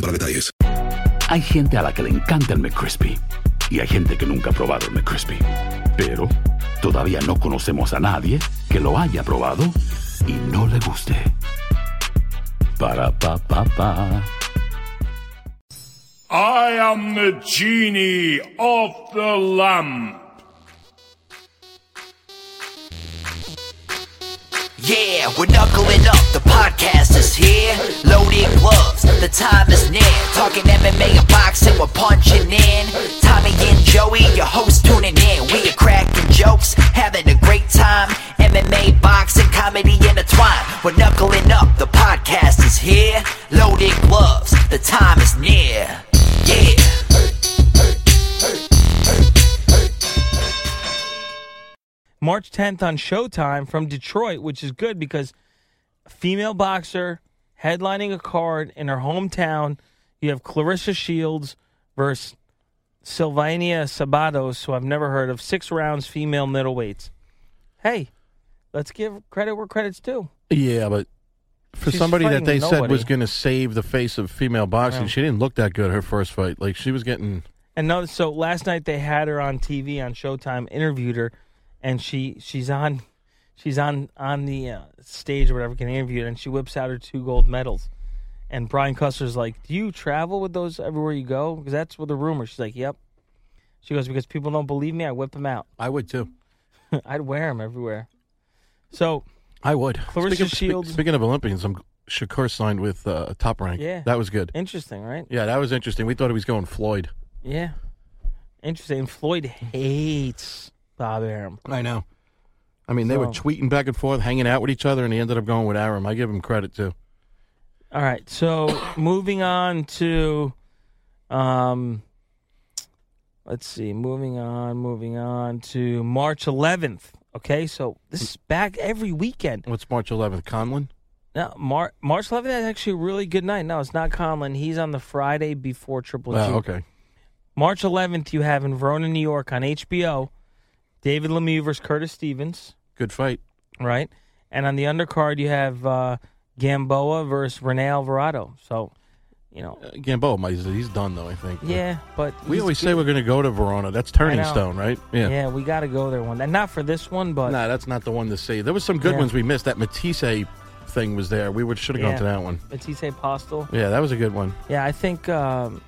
para detalles. Hay gente a la que le encanta el McCrispy y hay gente que nunca ha probado el McCrispy. Pero todavía no conocemos a nadie que lo haya probado y no le guste. Para pa pa pa. I am the genie of the lamp. Yeah, we're knuckling up, the podcast is here. Loaded gloves, the time is near. Talking MMA and boxing, we're punching in. Tommy and Joey, your hosts tuning in. We are cracking jokes, having a great time. MMA, boxing, comedy intertwined. We're knuckling up, the podcast is here. Loaded gloves, the time is near. Yeah. March 10th on Showtime from Detroit, which is good because female boxer headlining a card in her hometown. You have Clarissa Shields versus Sylvania Sabatos, who I've never heard of. Six rounds, female middleweights. Hey, let's give credit where credit's due. Yeah, but for She's somebody that fighting they said nobody. was going to save the face of female boxing, Yeah. she didn't look that good her first fight. Like she was getting And no, so last night they had her on TV on Showtime, interviewed her, and she she's on she's on on the uh, stage or whatever getting interviewed, and she whips out her two gold medals. And Brian Custer's like, "Do you travel with those everywhere you go?" Because that's what the rumor. She's like, "Yep." She goes because people don't believe me. I whip them out. I would too. I'd wear them everywhere. So I would. Clarissa speaking, spe- Shields- speaking of Olympians, I'm Shakur signed with uh, Top Rank. Yeah. that was good. interesting, right? Yeah, that was interesting. We thought he was going Floyd. Yeah, interesting. And Floyd hates Bob Arum. I know. I mean, they were So- tweeting back and forth, hanging out with each other, and he ended up going with Aram. I give him credit too. All right. So moving on to, um, let's see. Moving on. Moving on to March 11th. Okay. So this is back every weekend. What's March 11th? Conlon. Now, Mar- March 11th is actually a really good night. No, it's not Conlon. He's on the Friday before Triple G. Ah, okay. March 11th, you have in Verona, New York, on HBO, David Lemieux versus Curtis Stevens. Good fight. right? And on the undercard, you have uh, Gamboa versus Rene Alvarado. So, you know, Uh, Gamboa, my- he's, he's done though. I think. but- yeah, but We he's always good. say we're going to go to Verona. That's I Turning know. Stone, right? yeah. we got to go there one day. Not for this one, but Nah, that's not the one to see. There was some good Yeah. ones we missed. That Matisse thing was there. We would should have Yeah. gone to that one. Matisse Postel. Yeah, that was a good one. Yeah, I think um,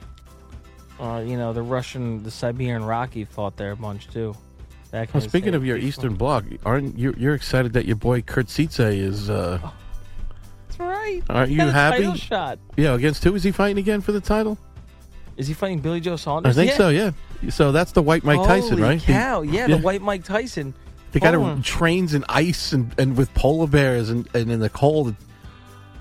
uh, you know the Russian, the Siberian Rocky fought there a bunch too. Back in Well, his Oh, speaking day. of your Eastern Bloc, aren't you? You're excited that your boy Kurtzice is? Uh, That's right. Aren't He you got a happy? title shot. yeah, against who is he fighting again for the title? Is he fighting Billy Joe I Saunders? think yeah. so. Yeah. So that's the White Mike Tyson, Holy right? The- Cow. yeah, the white Mike Tyson. The guy Hold on. that trains in ice and, and with polar bears and, and in the cold.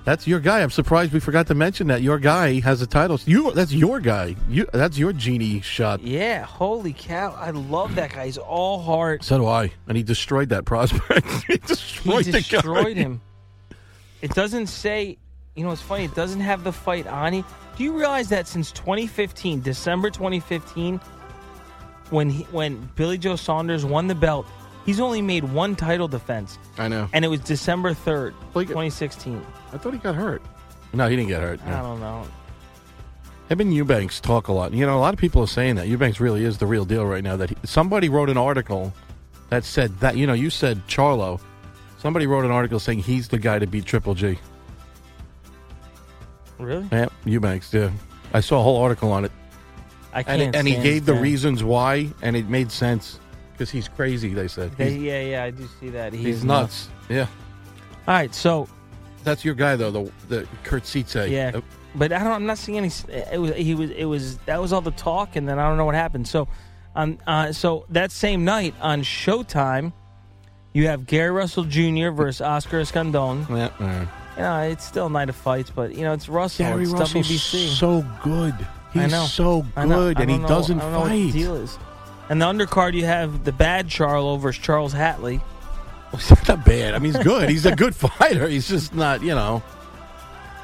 That's your guy. I'm surprised we forgot to mention that your guy has a title. You that's your guy. You that's your genie shot. Yeah, holy cow! I love that guy. He's all heart. So do I. And he destroyed that prospect. he He destroyed, the guy. destroyed him. It doesn't say, You know, it's funny. It doesn't have the fight on it. Do you realize that since 2015, December 2015, when he, when Billy Joe Saunders won the belt, he's only made one title defense, I know. and it was December 3rd, Like- 2016. I thought he got hurt. No, he didn't get hurt. I No. don't know. Him and Eubanks talk a lot. You know, a lot of people are saying that Eubanks really is the real deal right now. That he, somebody wrote an article that said that. You know, you said Charlo. Somebody wrote an article saying he's the guy to beat Triple G. Really? Yeah, Eubanks. Yeah, I saw a whole article on it, I and can't. it, and he stand gave the this guy. reasons why, and it made sense because he's crazy. They said They- he's, yeah, yeah, I do see that. He he's is nuts. Yeah, All right, so that's your guy though. The the Kurt Sietze. Yeah, Uh, but I don't. I'm not seeing any. eh, It was he was it was that was all the talk, and then I don't know what happened. So, on uh, so that same night on Showtime, you have Gary Russell Jr. versus Oscar Escandon. yeah, all right. You know, it's still a night of fights, but you know it's Russell. Gary it's Russell's WBC. so good. He's I know. so I know. good, I and he don't know- doesn't I don't know what the fight. deal is. And the undercard, you have the bad Charlo versus Charles Hatley. It's not bad. I mean, he's good. He's a good fighter. He's just not, you know.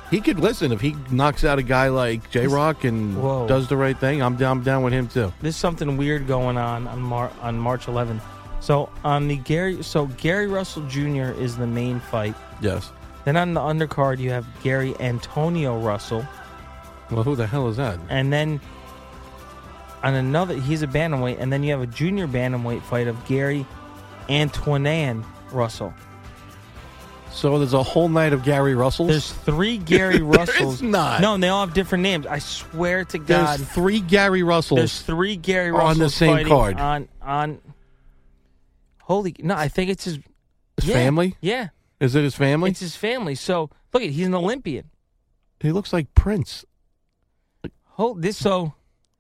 He could listen if he knocks out a guy like J Rock and Whoa. does the right thing. I'm down, I'm down with him too. There's something weird going on on, Mar- on March 11th. So on the Gary, so Gary Russell Jr. is the main fight. Yes. Then on the undercard, you have Gary Antonio Russell, Well, who the hell is that? and then on another, he's a bantamweight, and then you have a junior bantamweight fight of Gary Antoinan Russell. So there's a whole night of Gary Russells. There's three Gary Russells. not. No, and they all have different names. I swear to There's God, three Gary Russells. there's three Gary Russells On the same fighting card. On on. Holy no! I think it's his his yeah, family. Yeah, Is it his family? it's his family. So look at he's an Olympian. he looks like Prince. Hold this so.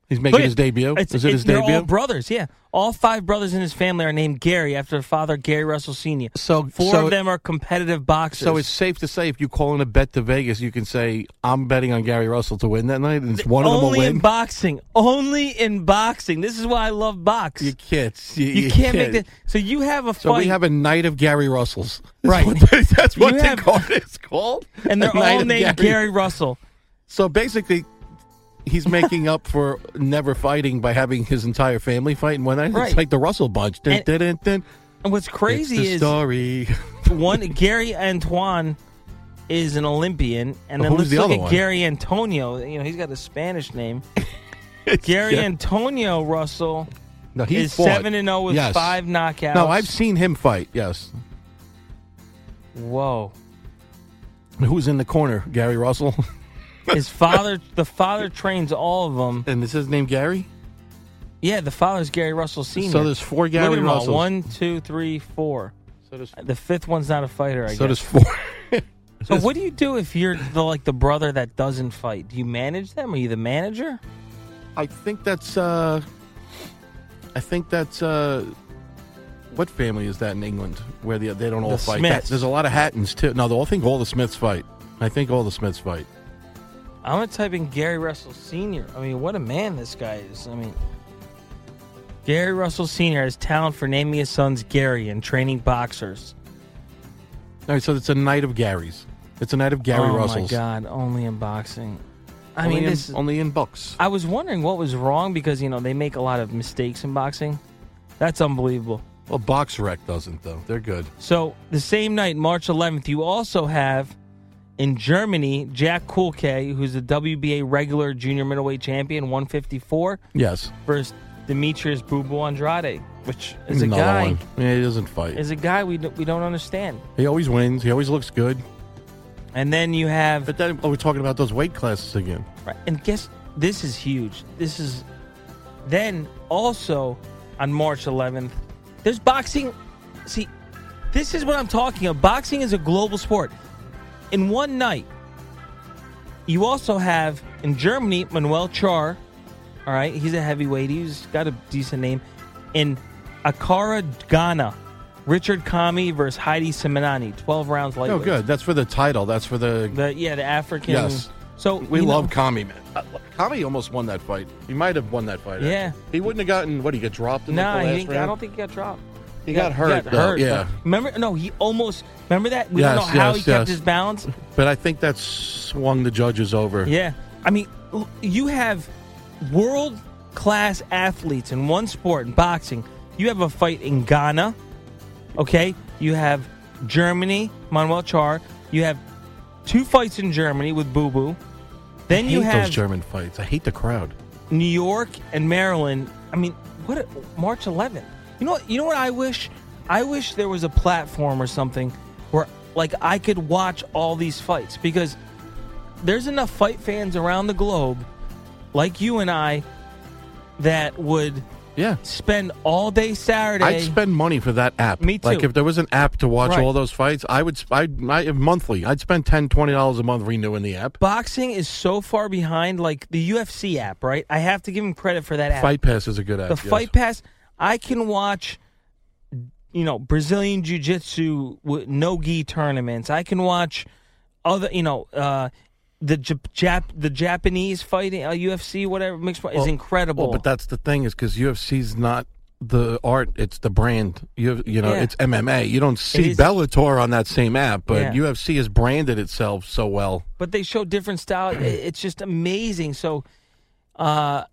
He's making Look, his debut. It's, is it his they're all debut? brothers, yeah. All five brothers in his family are named Gary after their father, Gary Russell Sr. So- four so- of them are competitive boxers. so it's safe to say if you call in a bet to Vegas, you can say I'm betting on Gary Russell to win that night, and it's one of them will only in win. boxing. Only in boxing. This is why I love box. you You, can't. You, you can't, make that. So you have a So fight, we have a night of Gary Russells. That's Right. what they- that's what You the have- card is called. and they're A night all of named Gary. Russell. So basically, he's making up for never fighting by having his entire family fight in one night. Right. It's like the Russell bunch. Dun, And- dun, dun, dun. And what's crazy It's the is story. one Gary Antoine is an Olympian, and then Who's let's the look other at one? Gary Antonio. You know, he's got a Spanish name. Gary Yeah. Antonio Russell. No, he is fought. seven and zero with Yes. five knockouts. No, I've seen him fight. Yes. Whoa, Who's in the corner? Gary Russell. his father. the father trains all of them. and is his name Gary? Yeah, the father's Gary Russell Senior. So there's four Gary Look at them all. Russells. One, two, three, four. So does, The fifth one's not a fighter. I so guess. does four. so what do you do if you're the like the brother that doesn't fight? Do you manage them? Are you the manager? I think that's. uh I think that's. uh What family is that in England where the, they don't all The fight? Smiths. That- there's a lot of Hattons too. No, though, I think all the Smiths fight. I think all the Smiths fight. I'm gonna type in Gary Russell Senior. I mean, what a man this guy is. I mean. Gary Russell Sr. has talent for naming his sons Gary and training boxers. All right, so it's a night of Garys. It's a night of Gary oh Russells. my God! Only in boxing. I Only mean, in, this. only in books. I was wondering what was wrong because you know they make a lot of mistakes in boxing. That's unbelievable. Well, Box Rec doesn't though. They're good. So the same night, March 11th, you also have in Germany Jack Kulke, who's the WBA regular junior middleweight champion, 154, Yes, versus Demetrius Bubu Andrade, which is a Another guy one. Yeah, he doesn't fight. is a guy we d- we don't understand. he always wins. He always looks good. And then you have But then oh, we're talking about those weight classes again. Right. And guess this is huge. This is then also on March 11th. There's boxing. See, this is what I'm talking about. Boxing is a global sport. In one night, you also have in Germany Manuel Char. All right, he's a heavyweight. He's got a decent name. In Akara, Ghana, Richard Kami versus Heidi Simonani, 12 rounds Oh, lightweight. good. That's for the title. That's for the The, yeah, the African. Yes. So We you know- love Kami, man. Uh, Kami almost won that fight. He might have won that fight. Yeah. He wouldn't have gotten, what, he got dropped in like, Nah, the he last didn't, I round? don't think he got dropped. He got hurt, though, yeah. Remember? No, he almost. Remember that? We don't Yes, know how yes, he kept yes. his balance. But I think that swung the judges over. Yeah. I mean, l- you have world class athletes in one sport, in boxing. You have a fight in Ghana, okay? You have Germany, Manuel Char. You have two fights in Germany with Boo Boo. Then I you hate have those German fights. I hate the crowd. New York and Maryland. I mean, what a, March 11th? You know what? You know what I wish? I wish there was a platform or something where like I could watch all these fights because there's enough fight fans around the globe like you and I that would yeah spend all day Saturday. I'd spend money for that app. Me too. Like if there was an app to watch Right. all those fights, I would. sp- I'd, I monthly. I'd spend 10 dollars a month renewing the app. boxing is so far behind like the UFC app, right? I have to give him credit for that app. Fight Pass is a good app. the yes. fight pass i can watch you know brazilian jiu-jitsu with no gi tournaments i can watch other you know uh the Jap- Jap- the japanese fighting uh, ufc whatever mixed fight is Well, incredible Well, but that's the thing is because UFC's not the art; it's the brand. You you know, Yeah. it's MMA. You don't see is- Bellator on that same app, but Yeah. UFC has branded itself so well. but they show different style I- it's just amazing so uh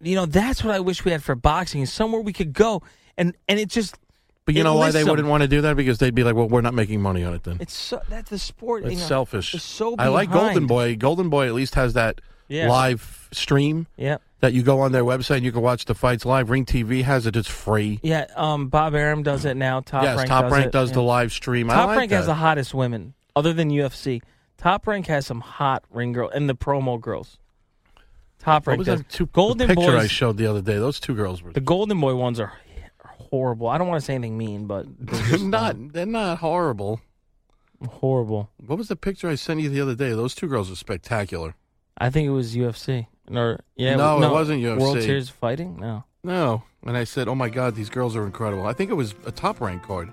you know that's what i wish we had for boxing is somewhere we could go and and it just But you it know why lists they them. wouldn't want to do that because they'd be like, "Well, we're not making money on it then." it's so that's the sport you It's know, selfish. it's so I like Golden behind. Boy. Golden Boy at least has that Yeah. live stream yeah that you go on their website and you can watch the fights live. Ring TV has it; it's free. Yeah, um, Bob Arum does it now. Top yes, Rank Top does Rank it. does the Yeah. live stream. I Top like Rank has that. the hottest women, other than UFC. Top Rank has some hot ring girl and the promo girls. Top what Rank was does that two, Golden the picture Boys. I showed the other day? Those two girls were the Golden Boy ones are are horrible. I don't want to say anything mean, but they're They're just um, not. They're not horrible. horrible. What was the picture I sent you the other day? Those two girls are spectacular. I think it was UFC. Or yeah, No, it wasn't World UFC. Series fighting. No, No, and I said, "Oh my God, these girls are incredible." I think it was a top rank card.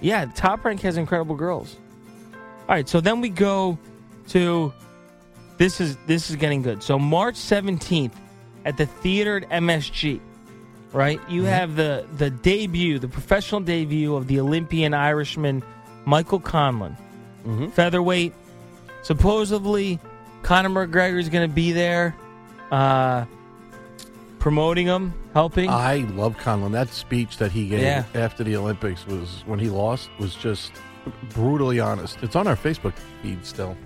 yeah, Top Rank has incredible girls. All right, so then we go to this is this is getting good. So March seventeenth at the theater at MSG, right? You have the the debut, the professional debut of the Olympian Irishman Michael Conlon, featherweight. Supposedly, Conor McGregor is going to be there, uh, promoting him, helping. I love Conlon. That speech that he gave Yeah. after the Olympics was when he lost was just brutally honest. It's on our Facebook feed still.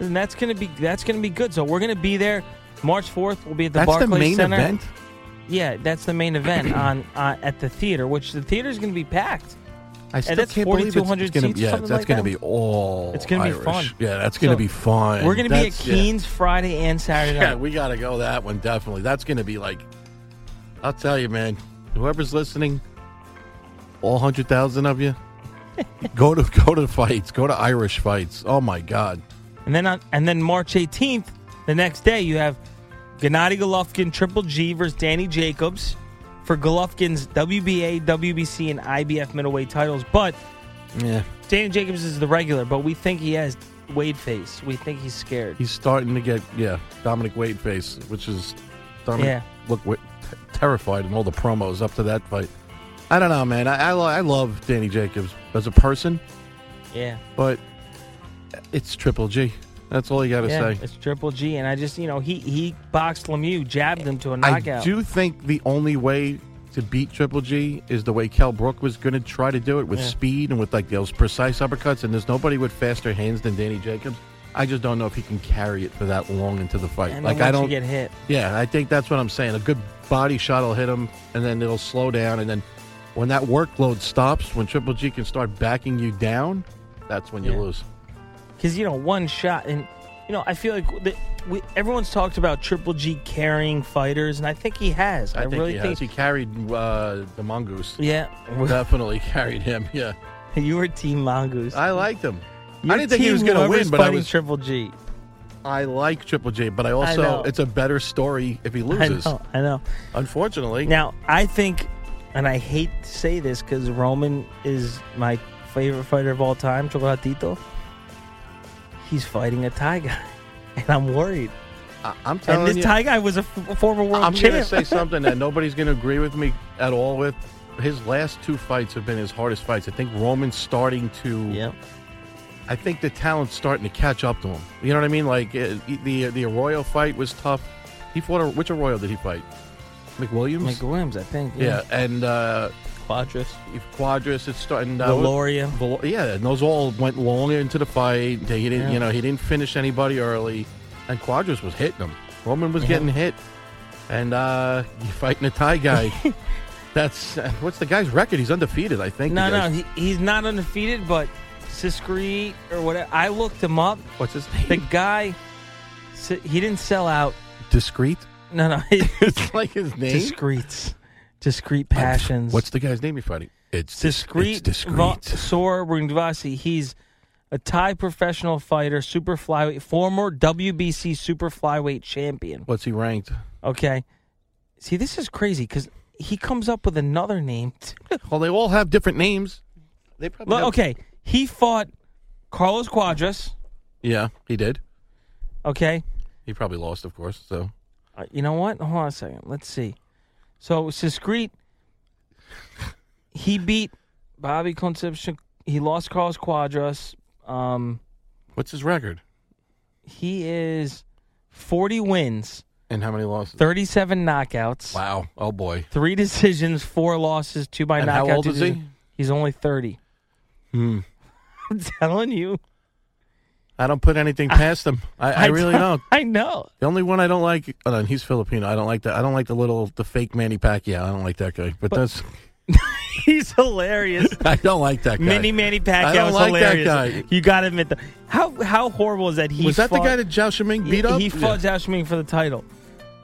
and that's gonna be that's gonna be good. So we're gonna be there. March fourth, we'll be at the That's Barclays the main Center. event. Yeah, that's the main event on uh, at the theater, which the theater is going to be packed. I still that's can't believe it's, it's 4,200 gonna, seats or yeah, something that's like gonna that? be all. It's gonna be Oh, Irish. fun. Yeah, that's gonna So, be fun. We're going to be at That's- yeah. Keens Friday and Saturday night. Yeah, we got to go that one definitely. That's going to be like, I'll tell you, man. Whoever's listening, all hundred thousand of you, go to go to fights. Go to Irish fights. Oh my God! and then on, and then March 18th, the next day, you have Gennady Golovkin, Triple G versus Danny Jacobs for Golovkin's WBA, WBC, and IBF middleweight titles. But Yeah, Danny Jacobs is the regular, but we think he has Wade face. We think he's scared. he's starting to get yeah Dominic Wade face, which is Dominic Yeah. look wa- t- terrified in all the promos up to that fight. I don't know, man. I I, lo- I love Danny Jacobs as a person, yeah. but it's Triple G. That's all you got to Yeah, say. it's Triple G, and I just you know he he boxed Lemieux, jabbed him to a knockout. I do think the only way to beat Triple G is the way Kel Brook was going to try to do it with Yeah. speed and with like those precise uppercuts. And there's nobody with faster hands than Danny Jacobs. I just don't know if he can carry it for that long into the fight. and then like I once don't. you get hit. yeah, I think that's what I'm saying. A good body shot will hit him, and then it'll slow down. And then when that workload stops, when Triple G can start backing you down, that's when you Yeah. lose. because you know one shot and you know i feel like the, we, everyone's talked about triple g carrying fighters and i think he has i, I, think really he has. think He carried uh, the mongoose. yeah Definitely carried him. Yeah. you were team mongoose I liked him. You're I didn't think he team was going to whoever's win, but I fighting was. triple g I like Triple J, but I know. also it's a better story if he i loses. know i know Unfortunately, now i think and i hate to say this because roman is my favorite fighter of all time chocolatito he's fighting a thai guy and i'm worried I, I'm telling And this you, Thai guy was a f- former world I'm champ. going to say something that nobody's going to agree with me at all with. His last two fights have been his hardest fights. I think Roman's starting to. Yep. I think the talent's starting to catch up to him. You know what I mean? Like uh, the the Arroyo fight was tough. He fought a, which Arroyo did he fight? McWilliams. Mike Williams, I think. yeah, and uh, Quadras. if Quadras it's starting. Uh, Valoria. Val- yeah, and those all went long into the fight. They, he didn't, Yeah. you know, he didn't finish anybody early, and Quadras was hitting him. Roman was Yeah. getting hit, and uh, you're fighting a Thai guy. That's uh, what's the guy's record? He's undefeated, I think. No, you no, guys- he, he's not undefeated, but Siskri or whatever. I looked him up. What's his The name? guy, si- he didn't sell out. Discreet. No, no, it's like his name. discreet, discreet passions. What's the guy's name you're fighting? It's dis- discreet? It's discreet. Va- Sora Rungvasi. He's a Thai professional fighter, super flyweight, former WBC super flyweight champion. what's he ranked? Okay, see, this is crazy because he comes up with another name. Well, they all have different names. They probably Look, have- okay, he fought Carlos Quadras. Yeah, he did. Okay, He probably lost, of course. So Uh, you know what? Hold on a second. Let's see. So Siskreet, he beat Bobby Concepcion. He lost Carlos Quadras. Um, what's his record? he is forty wins, And how many losses? thirty-seven knockouts, Wow. Oh boy. three decisions, four losses, two by And how knockout. old is he? decision. He's only thirty. Hmm. I'm telling you, I don't put anything past him. I, I, really don't. I know. The only one I don't like, oh, no, he's Filipino. I don't like that. I don't like the little, the fake Manny Pacquiao. I don't like that guy. But, that's, He's hilarious. I don't like that guy. Mini Manny I Pacquiao don't is like that hilarious. guy. You got to admit that. How how horrible is that? He was that the fought- guy that Zhao Shiming beat he, up? He fought Josh Ming for the title,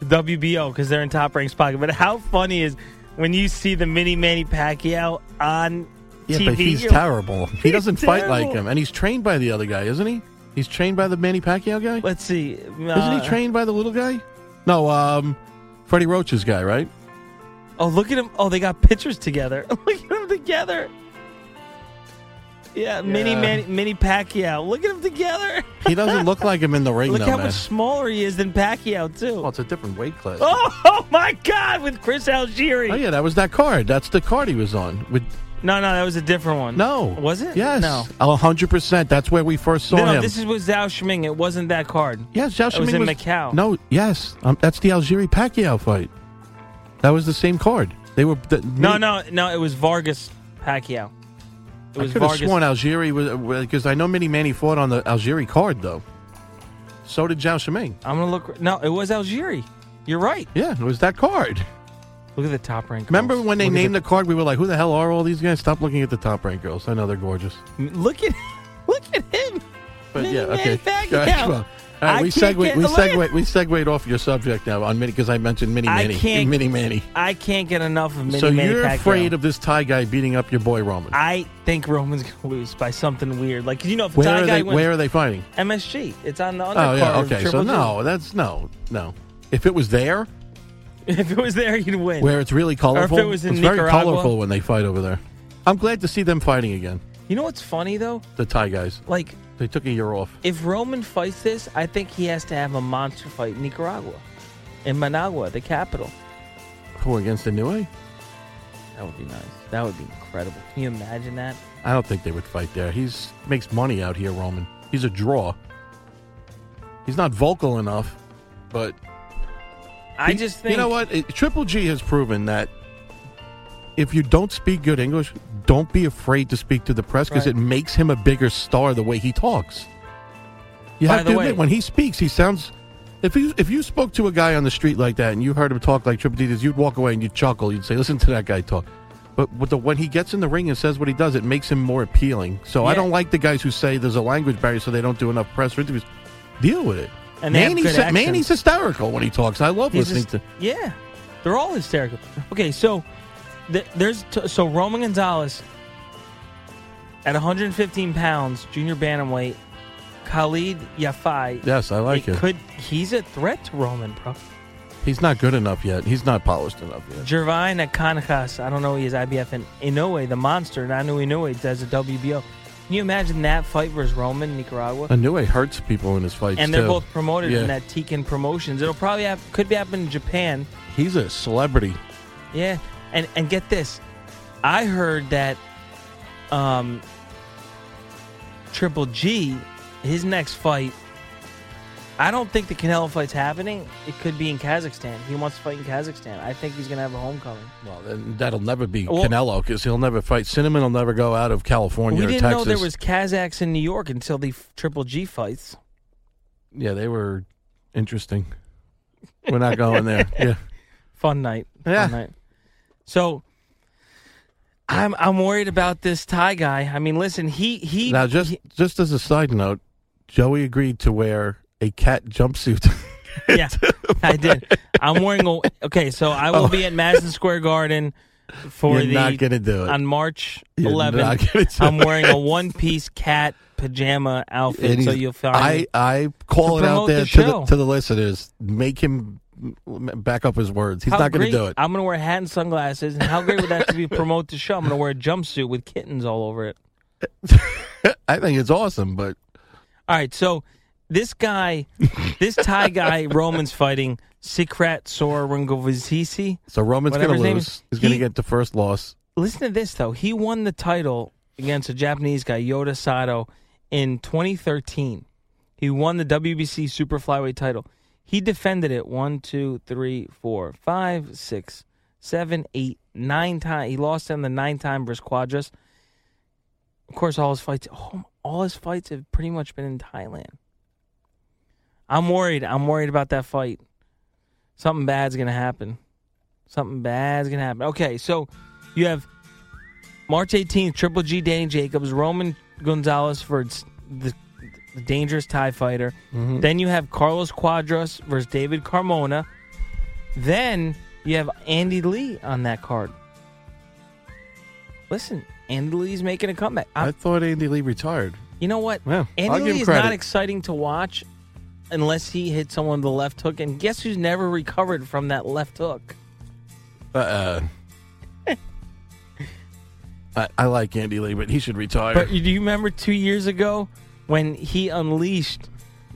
the WBO, because they're in top ranked pocket. But how funny is when you see the mini Manny Pacquiao on Yeah, TV? but he's you're- terrible. He doesn't fight like terrible. him, and he's trained by the other guy, isn't he? He's trained by the Manny Pacquiao guy. Let's see. isn't uh, he trained by the little guy? No, um, Freddie Roach's guy, right? Oh, look at him. Oh, they got pictures together. look at them together. Yeah, mini Yeah. Manny, mini Pacquiao. Look at them together. He doesn't look like him in the ring, Look though, how man. much smaller he is than Pacquiao too. Oh, it's a different weight class. Oh, Oh, oh my God! With Chris Algieri. yeah, that was that card. That's the card he was on. With No, no, that was a different one. no, was it? Yes, No. hundred percent. That's where we first saw No, no, him. this is with Zhao Shiming. It wasn't that card. yes, Zhao That was Shimin in Macau. No, yes, um, that's the Algeri Pacquiao fight. That was the same card. They were the, No, no, no. It was Vargas Pacquiao. It I was could have Vargas. sworn Algeri was because I know Mini Manny fought on the Algeri card though. So did Zhao Shiming. I'm gonna look. No, it was Algieri. You're right. Yeah, it was that card. Look at the top rank. Remember when they named the card? We were like, "Who the hell are all these guys?" Stop looking at the top rank girls. I know they're gorgeous, Look at, look at him. but Mini yeah, Manny okay. Pacquiao. All right, well, all right, I we can't get- segue, we look at- segue, we segued off your subject now on Mini because I mentioned Mini I Manny, can't- Mini Manny. I can't get enough of Mini so Manny you're Pacquiao. afraid of this Thai guy beating up your boy Roman? I think Roman's gonna lose by something weird. Like 'cause you know, if the where Thai are guy they? wins, Where are they fighting? MSG. It's on the undercard. Oh yeah, of okay. So Triple G. no, that's no, no. If it was there, If it was there, you'd win. where it's really colorful, it was in it's very Nicaragua. colorful when they fight over there. I'm glad to see them fighting again. You know what's funny though? The Thai guys, Like they took a year off. if Roman fights this, I think he has to have a monster fight in Nicaragua, in Managua, the capital. Who against the New Way? That would be nice. That would be incredible. Can you imagine that? I don't think they would fight there. He's makes money out here, Roman. He's a draw. He's not vocal enough, but I he- just think you know what It- Triple G has proven that if you don't speak good English, don't be afraid to speak to the press because Right. it makes him a bigger star the way he talks. You By have the to way- admit when he speaks, he sounds. If you if you spoke to a guy on the street like that and you heard him talk like Triple G does, you'd walk away and you'd chuckle. You'd say, "Listen to that guy talk." But with the, when he gets in the ring and says what he does, it makes him more appealing. So I Yeah. don't like the guys who say there's a language barrier, so they don't do enough press or interviews. Deal with it. And they have Manny's, good sa- Manny's accents. hysterical when he talks. I love he's listening just- to. yeah, they're all hysterical. Okay, so th- there's t- so Roman Gonzalez at 115 pounds, junior bantamweight. Khalid Yafai. Yes, I like it him. Could he's a threat to Roman, bro? He's not good enough yet. He's not polished enough yet. Jervine Akanjas, I don't know who he is, IBF, and Inoue, the monster, Nanu Inoue, does a WBO. Can you imagine that fight versus Roman in Nicaragua? I knew it hurts people in his fights. and they're too. both promoted Yeah. in that Tekken Promotions. It'll probably have, could be happening in Japan. He's a celebrity. Yeah, and and get this, I heard that um, Triple G, his next fight. I don't think the Canelo fight's happening. It could be in Kazakhstan. He wants to fight in Kazakhstan. I think he's gonna have a homecoming. Well, then uh, that'll never be Well- Canelo because he'll never fight. Cinnamon will never go out of California we or didn't Texas. know there was Kazakhs in New York until the f- Triple G fights. yeah, they were interesting. We're not going there. Yeah. Fun night. Yeah. Fun night. So I'm I'm worried about this Thai guy. I mean, listen, he he Now, just he- just as a side note, Joey agreed to wear a cat jumpsuit. yeah, I did. I'm wearing a okay, so I will be at Madison Square Garden for You're the not gonna do it. on March You're not 11th. gonna do I'm wearing a one piece cat pajama outfit, And so he's- you'll find I me. I call To it out promote there the to the show. to the listeners. Make him m- back up his words. He's How not going great- to do it. I'm going to wear a hat and sunglasses, and how great would that to be promote the show? I'm going to wear a jumpsuit with kittens all over it. I think it's awesome, but All right, so this guy, this Thai guy, Roman's fighting Sikrat Sorungovizisi. so Roman's Whatever going to his name lose. is, He's going to he- get the first loss. Listen to this though. He won the title against a Japanese guy, Yoda Sato, in 2013. He won the WBC super flyweight title. He defended it one, two, three, four, five, six, seven, eight, nine times. He lost on the nine time versus Quadras. Of course, all his fights, oh, all his fights have pretty much been in Thailand. I'm worried. I'm worried about that fight. Something bad's gonna happen. Something bad's gonna happen. Okay, so you have March 18th, Triple G, Danny Jacobs, Roman Gonzalez for its- the, the dangerous Tie fighter. Then you have Carlos Quadras versus David Carmona. Then you have Andy Lee on that card. Listen, Andy Lee's making a comeback. I I'm, thought Andy Lee retired. you know what? Yeah, Andy I'll give him Lee is credit. not exciting to watch unless he hits someone with the left hook. And guess who's never recovered from that left hook? Uh, uh, I, I like Andy Lee, but he should retire. But do you remember two years ago when he unleashed?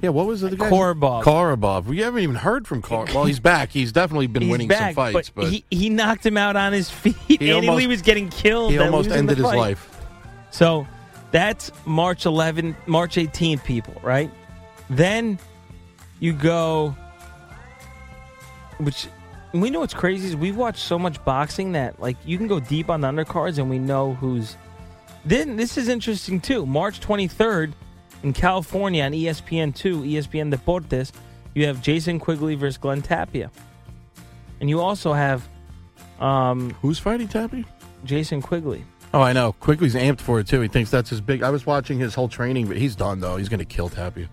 yeah, what was it? again? Korobov. Korobov. We haven't even heard from Korobov. Well, he's back. He's definitely been He's winning some back, fights, but, but, he, he knocked him out on his feet. Andy almost- Lee was getting killed. he and almost losing the ended his fight. life. So that's March 11, March 18th, people, right? Then you go, which we know what's crazy is we've watched so much boxing that like you can go deep on the undercards and we know who's. Then this is interesting too. March 23rd in California on E ESPN two, ESPN Deportes, you have Jason Quigley versus Glenn Tapia, and you also have um, Who's fighting Tappy? Jason Quigley. Oh, I know. Quigley's amped for it too. He thinks that's his big. I was watching his whole training, but he's done though. He's going to kill Tappy.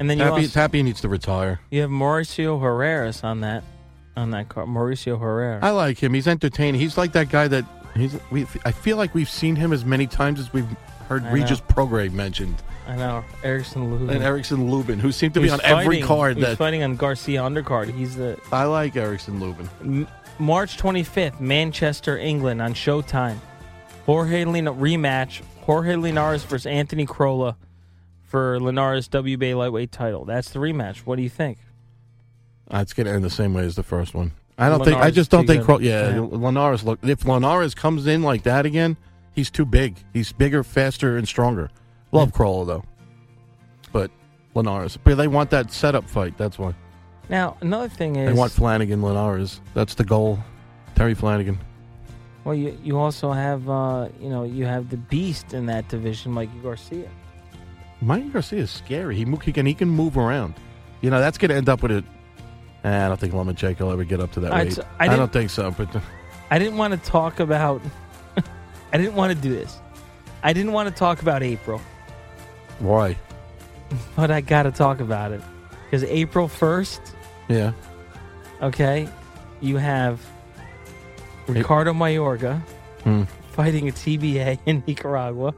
And then you Tappy, also, Tappy needs to retire. You have Mauricio Herreras on that on that card. Mauricio Herrera. I like him. He's entertaining. He's like that guy that he's. We, I feel like we've seen him as many times as we've heard I Regis Prograde mentioned I know Erickson Lubin. and Erickson Lubin, who seemed to be Who's on every fighting- card who's that fighting on Garcia undercard. He's the I like Erickson Lubin. M- March 25th, Manchester, England on Showtime. Jorge Lina rematch. Jorge Linares versus Anthony Crolla for Linares WBA lightweight title. That's the rematch. What do you think? Uh, It's going to end the same way as the first one. I don't think. I Linares just don't too think. good. Cro- yeah, Yeah. Linares. Look, if Linares comes in like that again, he's too big. He's bigger, faster, and stronger. Love Crawler though, but Linares. But they want that setup fight. That's why Now another thing is they want Flanagan Linares. That's the goal. Terry Flanagan. well you, you also have uh, you know you have the beast in that division, Mikey Garcia. Mike Garcia is scary. He, mo- he can he can move around. You know that's going to end up with it. Eh, I don't think Lomachenko will ever get up to that All right, weight. so I I, didn't- don't think so. But I didn't want to talk about. I didn't want to do this. I didn't want to talk about April, why? but I got to talk about it because April first, Yeah. okay, you have Ricardo Mayorga Hmm. fighting a TBA in Nicaragua.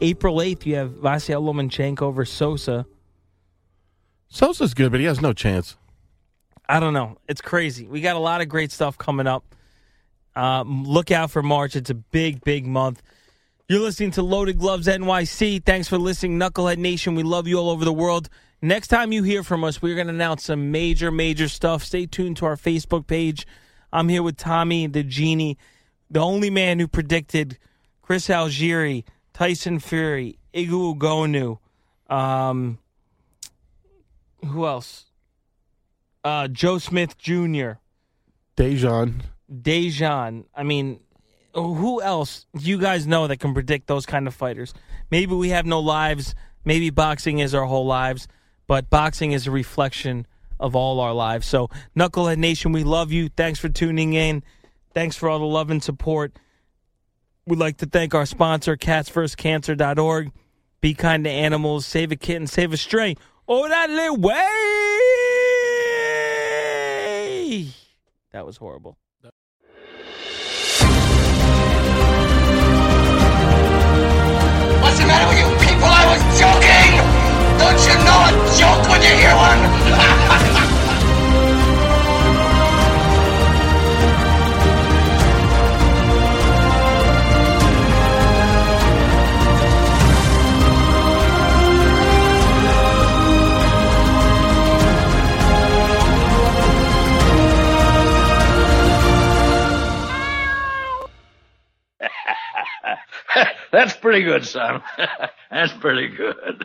April eighth, you have Vasyl Lomachenko over Sosa. Sosa's good, but he has no chance. I don't know. It's crazy. We got a lot of great stuff coming up. Um, look out for March. It's a big, big month. You're listening to Loaded Gloves NYC. Thanks for listening, Knucklehead Nation. We love you all over the world. Next time you hear from us, we're going to announce some major, major stuff. Stay tuned to our Facebook page. I'm here with Tommy the Genie, the only man who predicted Chris Algieri, Tyson Fury, Igu Ugonu, um, who else? Uh, Joe Smith Jr. Dejan. Dejan. I mean, who else do you guys know that can predict those kind of fighters? Maybe we have no lives. Maybe boxing is our whole lives, but boxing is a reflection of all our lives. So, Knucklehead Nation, we love you. Thanks for tuning in. Thanks for all the love and support. We'd like to thank our sponsor, catsfirstcancer.org. Be kind to animals, save a kitten, save a stray. Oh, that little way! That was horrible. What's the matter with you people? I was joking! Don't you know a joke when you hear one? That's pretty good, son. That's pretty good.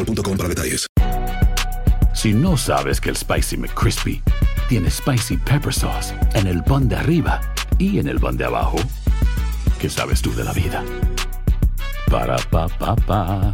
para detalles. Si no sabes que el Spicy McCrispy tiene spicy pepper sauce en el pan de arriba y en el pan de abajo, ¿qué sabes tú de la vida? Para pa pa pa.